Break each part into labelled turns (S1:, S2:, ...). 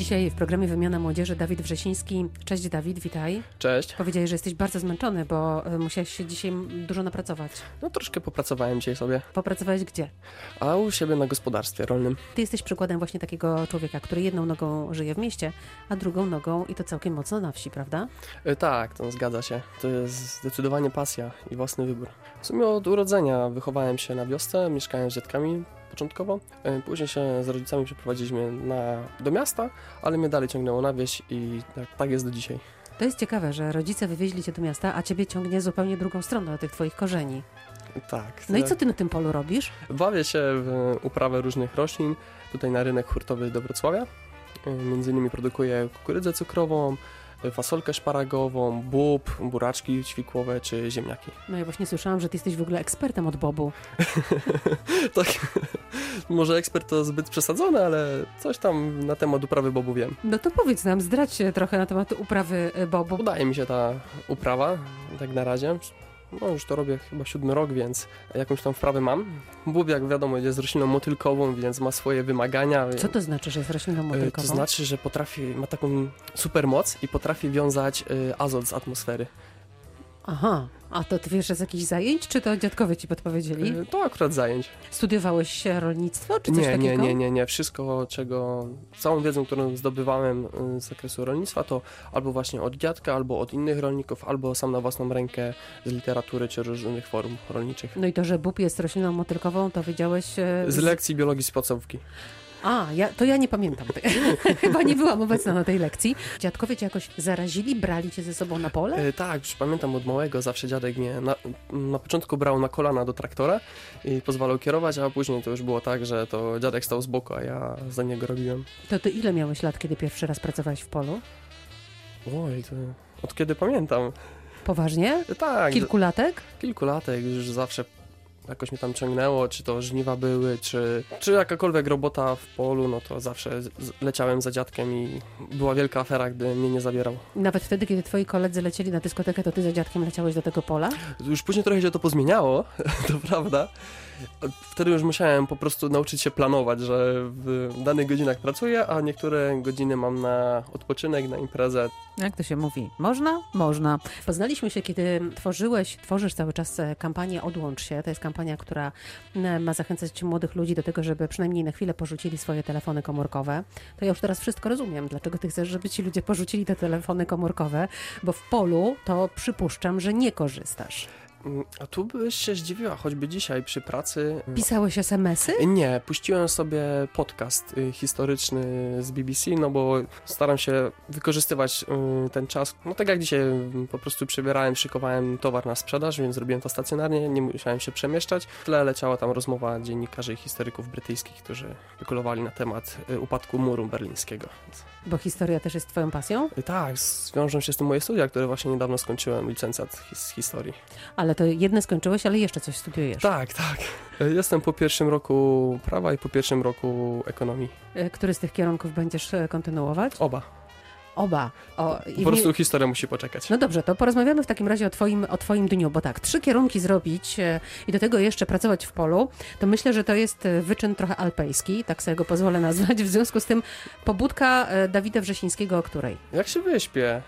S1: Dzisiaj w programie Wymiana Młodzieży Dawid Wrzesiński. Cześć Dawid, witaj.
S2: Cześć.
S1: Powiedziałeś, że jesteś bardzo zmęczony, bo y, musiałeś się dzisiaj m- dużo napracować.
S2: No troszkę popracowałem dzisiaj sobie,
S1: Popracowałeś gdzie?
S2: a u siebie na gospodarstwie rolnym.
S1: Ty jesteś przykładem właśnie takiego człowieka, który jedną nogą żyje w mieście, a drugą nogą i to całkiem mocno na wsi, prawda?
S2: E, Tak, to zgadza się. To jest zdecydowanie pasja i własny wybór. W sumie od urodzenia wychowałem się na wiosce, mieszkałem z dziadkami początkowo. E, Później się z rodzicami przeprowadziliśmy na, do miasta, ale mnie dalej ciągnęło na wieś i tak, tak jest do dzisiaj.
S1: To jest ciekawe, że rodzice wywieźli cię do miasta, a ciebie ciągnie zupełnie drugą stronę do tych twoich korzeni.
S2: Tak.
S1: No i
S2: e,
S1: co ty na tym polu robisz?
S2: Bawię się w uprawę różnych roślin, tutaj na rynek hurtowy do Wrocławia. E, Między innymi produkuję kukurydzę cukrową, e, fasolkę szparagową, bób, buraczki ćwikłowe czy ziemniaki.
S1: No ja właśnie słyszałam, że ty jesteś w ogóle ekspertem od bobu.
S2: Tak, może ekspert to zbyt przesadzony, ale coś tam na temat uprawy bobu wiem.
S1: No to powiedz nam, zdradź się trochę na temat uprawy y, bobu.
S2: Udaje mi się ta uprawa, tak na razie. No już to robię chyba siódmy rok, więc jakąś tam wprawę mam. Bób, jak wiadomo, jest rośliną motylkową, więc ma swoje wymagania.
S1: Co to znaczy, że jest rośliną
S2: E,
S1: motylkową?
S2: To znaczy, że potrafi, ma taką supermoc i potrafi wiązać e, azot z atmosfery.
S1: Aha, a to ty wiesz z jakichś zajęć, czy to dziadkowie ci podpowiedzieli?
S2: E, To akurat zajęć.
S1: Studiowałeś się rolnictwo, czy coś
S2: Nie,
S1: takiego?
S2: nie, nie, nie, nie. Wszystko, czego, całą wiedzę, którą zdobywałem e, z zakresu rolnictwa, to albo właśnie od dziadka, albo od innych rolników, albo sam na własną rękę z literatury czy różnych form rolniczych.
S1: No i to, że bób jest rośliną motylkową, to wiedziałeś... e,
S2: Z lekcji biologii z podstawówki.
S1: A, ja, to ja nie pamiętam. Chyba nie byłam obecna na tej lekcji. Dziadkowie cię jakoś zarazili, brali cię ze sobą na pole?
S2: E, tak, już pamiętam od małego, zawsze dziadek mnie na, na początku brał na kolana do traktora i pozwalał kierować, a później to już było tak, że to dziadek stał z boku, a ja za niego robiłem.
S1: To ty ile miałeś lat, kiedy pierwszy raz pracowałeś w polu?
S2: Oj, to od kiedy pamiętam.
S1: Poważnie?
S2: E, Tak, kilku,
S1: Kilku latek?
S2: kilku latek już zawsze jakoś mnie tam ciągnęło, czy to żniwa były, czy, czy jakakolwiek robota w polu, no to zawsze z, z- leciałem za dziadkiem i była wielka afera, gdy mnie nie zabierał.
S1: Nawet wtedy, kiedy twoi koledzy lecieli na dyskotekę, to ty za dziadkiem leciałeś do tego pola?
S2: Już później trochę się to pozmieniało, to prawda. Wtedy już musiałem po prostu nauczyć się planować, że w danych godzinach pracuję, a niektóre godziny mam na odpoczynek, na imprezę.
S3: Jak to się mówi? Można? Można.
S1: Poznaliśmy się, kiedy tworzyłeś, tworzysz cały czas e, kampanię Odłącz się. To jest kampania, która e, ma zachęcać młodych ludzi do tego, żeby przynajmniej na chwilę porzucili swoje telefony komórkowe. To ja już teraz wszystko rozumiem, dlaczego ty chcesz, żeby ci ludzie porzucili te telefony komórkowe, bo w polu to przypuszczam, że nie korzystasz.
S2: Mm, A tu byś się zdziwiła, choćby dzisiaj przy pracy.
S1: Pisałeś SMS-y?
S2: Nie, puściłem sobie podcast y, historyczny z BBC, no bo staram się wykorzystywać y, ten czas. No tak jak dzisiaj y, po prostu przebierałem, szykowałem towar na sprzedaż, więc zrobiłem to stacjonarnie, nie musiałem się przemieszczać. W tle leciała tam rozmowa dziennikarzy i historyków brytyjskich, którzy spekulowali na temat y, upadku muru berlińskiego. Więc,
S1: Bo historia też jest twoją pasją,
S2: y, tak, z- wiążą się z tym moje studia, które właśnie niedawno skończyłem, licencjat his- z historii.
S1: ale to jedne skończyłeś, ale jeszcze coś studiujesz.
S2: Tak, tak. Y, Jestem po pierwszym roku prawa i po pierwszym roku ekonomii.
S1: E, Który z tych kierunków będziesz e, kontynuować?
S2: Oba.
S1: Oba. O, i
S2: Po
S1: w-
S2: prostu historia musi poczekać.
S1: No dobrze, to porozmawiamy w takim razie o twoim, o twoim dniu, bo tak, trzy kierunki zrobić e, i do tego jeszcze pracować w polu, to myślę, że to jest e, wyczyn trochę alpejski, tak sobie go pozwolę nazwać. W związku z tym pobudka e, Dawida Wrzesińskiego, o której?
S2: Jak się wyśpię?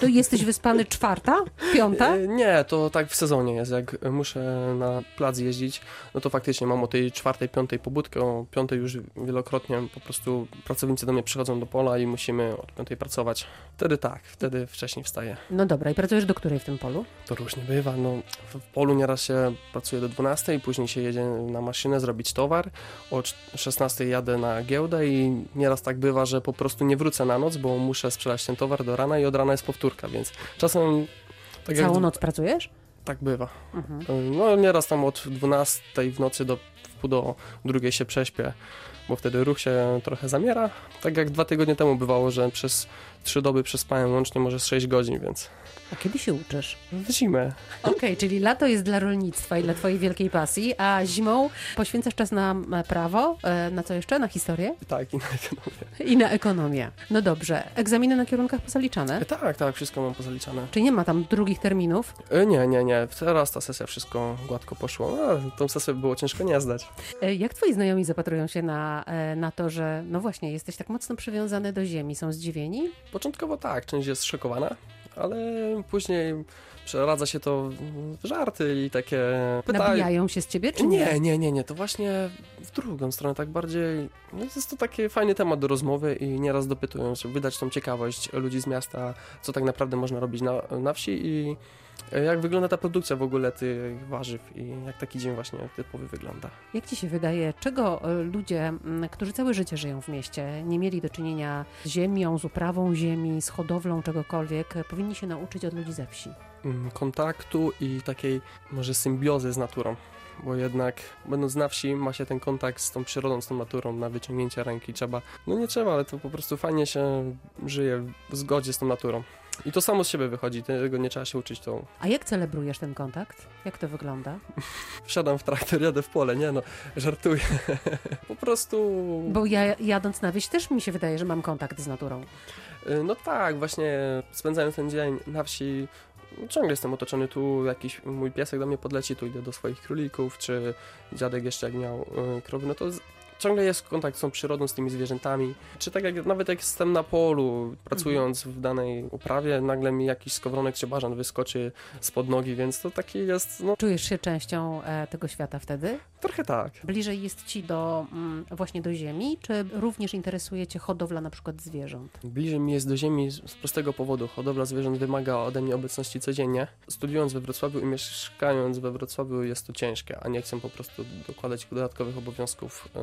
S1: To jesteś wyspany czwarta? Piąta?
S2: E, Nie, to tak w sezonie jest. Jak muszę na plac jeździć, no to faktycznie mam o tej czwartej, piątej pobudkę. O piątej już wielokrotnie po prostu pracownicy do mnie przychodzą do pola i musimy od piątej pracować. Wtedy tak, wtedy wcześniej wstaję.
S1: No dobra, i pracujesz do której w tym polu?
S2: To różnie bywa. No, w w polu nieraz się pracuje do 12, i później się jedzie na maszynę zrobić towar. O cz- 16 jadę na giełdę i nieraz tak bywa, że po prostu nie wrócę na noc, bo muszę sprzedać ten towar do rana i od rana jest powtórka, więc czasem... Tak jak-
S1: Całą noc pracujesz?
S2: Tak bywa.
S1: Mhm.
S2: No nieraz tam od 12 w nocy do w pół do drugiej się prześpię, bo wtedy ruch się trochę zamiera. Tak jak dwa tygodnie temu bywało, że przez trzy doby przespałem łącznie może z 6 godzin, więc
S1: A kiedy się uczysz?
S2: w zimę.
S1: Okej, czyli lato jest dla rolnictwa i dla twojej wielkiej pasji, a zimą poświęcasz czas na e, prawo, e, na co jeszcze? Na historię
S2: Tak, i na ekonomię.
S1: i na ekonomię. No dobrze, egzaminy na kierunkach pozaliczane?
S2: E, Tak, tak, wszystko mam pozaliczane.
S1: Czy nie ma tam drugich terminów?
S2: E, Nie, nie, nie, teraz ta sesja wszystko gładko poszło. A, tą sesję było ciężko nie zdać. też.
S1: E, Jak twoi znajomi zapatrują się na, e, na to, że no właśnie, jesteś tak mocno przywiązany do ziemi? Są zdziwieni?
S2: Początkowo tak, część jest szokowana, ale później przeradza się to w żarty i takie pytania.
S1: Nabijają się z ciebie, czy nie?
S2: Nie, nie, nie, nie, to właśnie w drugą stronę, tak bardziej, no jest to taki fajny temat do rozmowy i nieraz dopytują się, wydać tą ciekawość ludzi z miasta, co tak naprawdę można robić na, na wsi i e, jak wygląda ta produkcja w ogóle tych warzyw i jak taki dzień właśnie typowy wygląda.
S1: Jak ci się wydaje, czego e, ludzie, m, którzy całe życie żyją w mieście, nie mieli do czynienia z ziemią, z uprawą ziemi, z hodowlą czegokolwiek, e, powinni się nauczyć od ludzi ze wsi?
S2: Mm, Kontaktu i takiej może symbiozy z naturą, bo jednak będąc na wsi ma się ten kontakt z tą przyrodą, z tą naturą na wyciągnięcie ręki, trzeba, no nie trzeba, ale to po prostu fajnie się żyje w zgodzie z tą naturą. I to samo z siebie wychodzi, tego nie trzeba się uczyć, to
S1: A jak celebrujesz ten kontakt? Jak to wygląda?
S2: wsiadam w traktor, jadę w pole, nie no, żartuję. po prostu...
S1: Bo ja jadąc na wieś też mi się wydaje, że mam kontakt z naturą.
S2: Y, No tak, właśnie spędzając ten dzień na wsi, ciągle jestem otoczony tu, jakiś mój piesek do mnie podleci, tu idę do swoich królików, czy dziadek jeszcze jak miał y, krowy, no to z, ciągle jest kontakt z tą przyrodą, z tymi zwierzętami. Czy tak jak, nawet jak jestem na polu, pracując w danej uprawie, nagle mi jakiś skowronek czy bażan wyskoczy spod nogi, więc to taki jest, no
S1: Czujesz się częścią e, tego świata wtedy?
S2: trochę tak.
S1: Bliżej jest ci do mm, właśnie do ziemi, czy również interesuje cię hodowla na przykład zwierząt?
S2: Bliżej mi jest do ziemi z z prostego powodu. Hodowla zwierząt wymaga ode mnie obecności codziennie. Studiując we Wrocławiu i mieszkając we Wrocławiu jest to ciężkie, a nie chcę po prostu dokładać dodatkowych obowiązków y,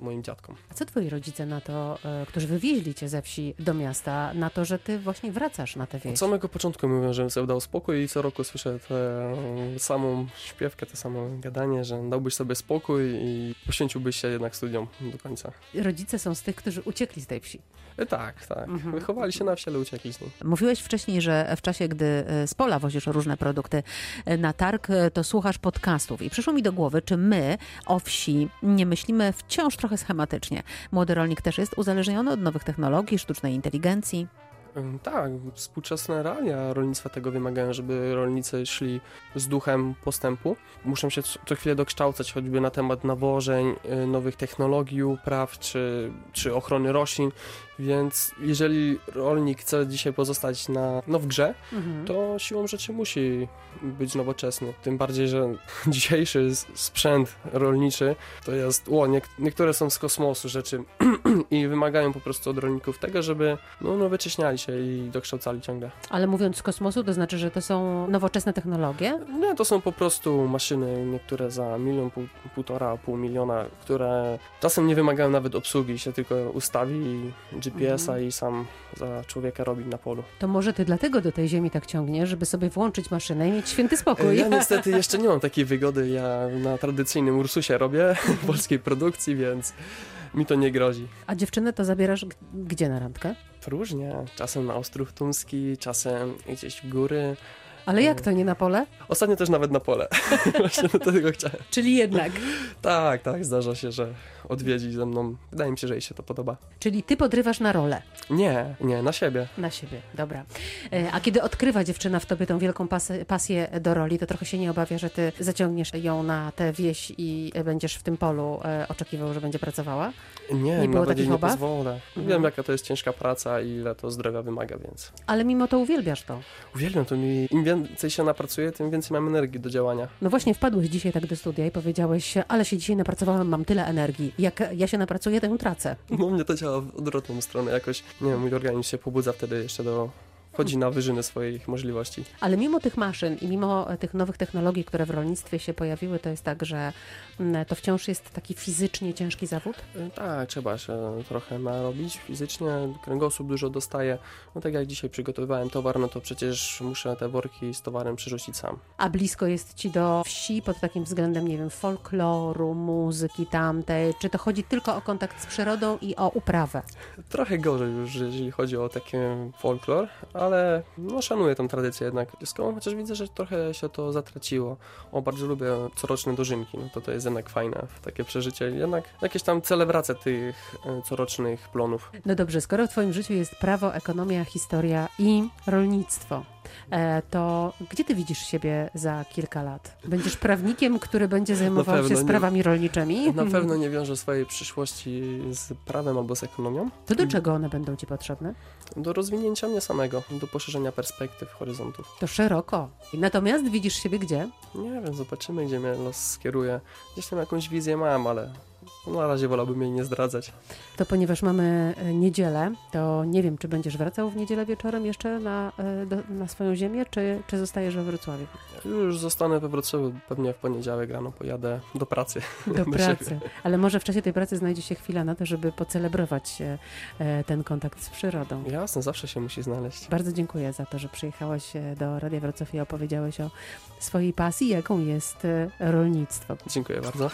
S2: moim dziadkom.
S1: A co twoi rodzice na to, e, którzy wywieźli cię ze wsi do miasta, na to, że ty właśnie wracasz na tę
S2: Od
S1: wieś?
S2: samego początku mówią, żebym sobie dał spokój i co roku słyszę tę samą śpiewkę, to samo gadanie, że dałbyś sobie spokój i poświęciłbyś się jednak studiom do końca.
S1: Rodzice są z tych, którzy uciekli z tej wsi.
S2: Y, tak, tak.
S1: Mhm.
S2: Wychowali się na wsi, ale uciekli z niej.
S3: Mówiłeś wcześniej, że w czasie, gdy e, z pola wozisz różne produkty e, na targ, e, to słuchasz podcastów. I przyszło mi do głowy, czy my o wsi nie myślimy wciąż trochę schematycznie. Młody rolnik też jest uzależniony od nowych technologii, sztucznej inteligencji.
S2: Ym, Tak, współczesne realia rolnictwa tego wymagają, żeby rolnicy szli z duchem postępu. Muszą się co co chwilę dokształcać choćby na temat nawożeń, y, nowych technologii upraw czy, czy ochrony roślin, więc jeżeli rolnik chce dzisiaj pozostać na, no w grze,
S1: Mhm.
S2: to siłą rzeczy musi być nowoczesny. Tym bardziej, że dzisiejszy s- sprzęt rolniczy to jest, o, nie, niektóre są z kosmosu rzeczy i wymagają po prostu od rolników tego, żeby no, no wycieśniali się i dokształcali ciągle.
S1: Ale mówiąc z kosmosu, to znaczy, że to są nowoczesne technologie?
S2: No to są po prostu maszyny, niektóre za milion, pół, półtora, pół miliona, które czasem nie wymagają nawet obsługi, się tylko ustawi GPS-a i sam za człowieka robi na polu.
S1: To może ty dlatego do tej ziemi tak ciągniesz, żeby sobie włączyć maszynę i mieć święty spokój.
S2: E, Ja niestety jeszcze nie mam takiej wygody. Ja na tradycyjnym Ursusie robię polskiej produkcji, więc mi to nie grozi.
S1: A dziewczynę to zabierasz g- gdzie na randkę?
S2: Różnie. Czasem na Ostrów Tumski, czasem gdzieś w góry.
S1: Ale jak to nie na pole?
S2: Ostatnio też nawet na pole. Właśnie do tego chciałem.
S1: Czyli jednak.
S2: Tak, tak, zdarza się, że odwiedzi ze mną. Wydaje mi się, że jej się to podoba.
S1: Czyli ty podrywasz na rolę.
S2: Nie, nie, na siebie.
S1: Na siebie, dobra. E, A kiedy odkrywa dziewczyna w tobie tą wielką pasy, pasję do roli, to trochę się nie obawia, że ty zaciągniesz ją na tę wieś i e, będziesz w tym polu e, oczekiwał, że będzie pracowała?
S2: Nie,
S1: Nie było
S2: nawet
S1: takich
S2: jej nie
S1: obaw? Mhm.
S2: pozwolę. Wiem, jaka to jest ciężka praca i ile to zdrowia wymaga, więc.
S1: Ale mimo to uwielbiasz to.
S2: Uwielbiam to mi. Im więcej się napracuję, tym więcej mam energii do działania.
S1: No właśnie, wpadłeś dzisiaj tak do studia i powiedziałeś, ale się dzisiaj napracowałem, mam tyle energii. Jak ja się napracuję, to ją tracę.
S2: No u mnie to działa w odwrotną stronę jakoś. Nie wiem, mój organizm się pobudza wtedy jeszcze do... Wchodzi na wyżyny swoich możliwości.
S1: Ale mimo tych maszyn i mimo e, tych nowych technologii, które w rolnictwie się pojawiły, to jest tak, że mm, to wciąż jest taki fizycznie ciężki zawód?
S2: Y, Tak, trzeba się trochę narobić fizycznie, kręgosłup dużo dostaje. No tak jak dzisiaj przygotowywałem towar, no to przecież muszę te worki z towarem przerzucić sam.
S1: A blisko jest ci do wsi pod takim względem, nie wiem, folkloru, muzyki tamtej? Czy to chodzi tylko o kontakt z przyrodą i o uprawę?
S2: Trochę gorzej już, jeżeli chodzi o taki folklor, ale no szanuję tą tradycję jednak wiejską, chociaż widzę, że trochę się to zatraciło. O, bardzo lubię coroczne dożynki, no to to jest jednak fajne, takie przeżycie. Jednak jakieś tam celebracje tych y, corocznych plonów.
S1: No dobrze, skoro w twoim życiu jest prawo, ekonomia, historia i rolnictwo,
S4: e, to gdzie ty widzisz siebie za kilka lat? Będziesz prawnikiem, który będzie zajmował
S2: pewno
S4: się
S2: nie.
S4: sprawami rolniczymi? Hmm.
S2: Na pewno nie wiążę swojej przyszłości z prawem albo z ekonomią.
S4: To do czego one będą ci potrzebne?
S2: Do rozwinięcia mnie samego, do poszerzenia perspektyw, horyzontów.
S4: To szeroko. Natomiast widzisz siebie gdzie?
S2: Nie wiem, zobaczymy, gdzie mnie los skieruje. Gdzieś tam jakąś wizję mam, ale na razie wolałbym jej nie zdradzać.
S4: To ponieważ mamy e, niedzielę, to nie wiem, czy będziesz wracał w niedzielę wieczorem jeszcze na, e, do, na swoją ziemię, czy, czy zostajesz we Wrocławiu?
S2: Już zostanę we Wrocławiu, pewnie w poniedziałek rano pojadę do pracy.
S4: Do
S2: siebie.
S4: pracy. Ale może w czasie tej pracy znajdzie się chwila na to, żeby pocelebrować e, e, ten kontakt z przyrodą.
S2: Jasne, zawsze się musi znaleźć.
S4: Bardzo dziękuję za to, że przyjechałaś e, do Radia Wrocław i opowiedziałeś o swojej pasji, jaką jest e, rolnictwo.
S2: Dziękuję bardzo.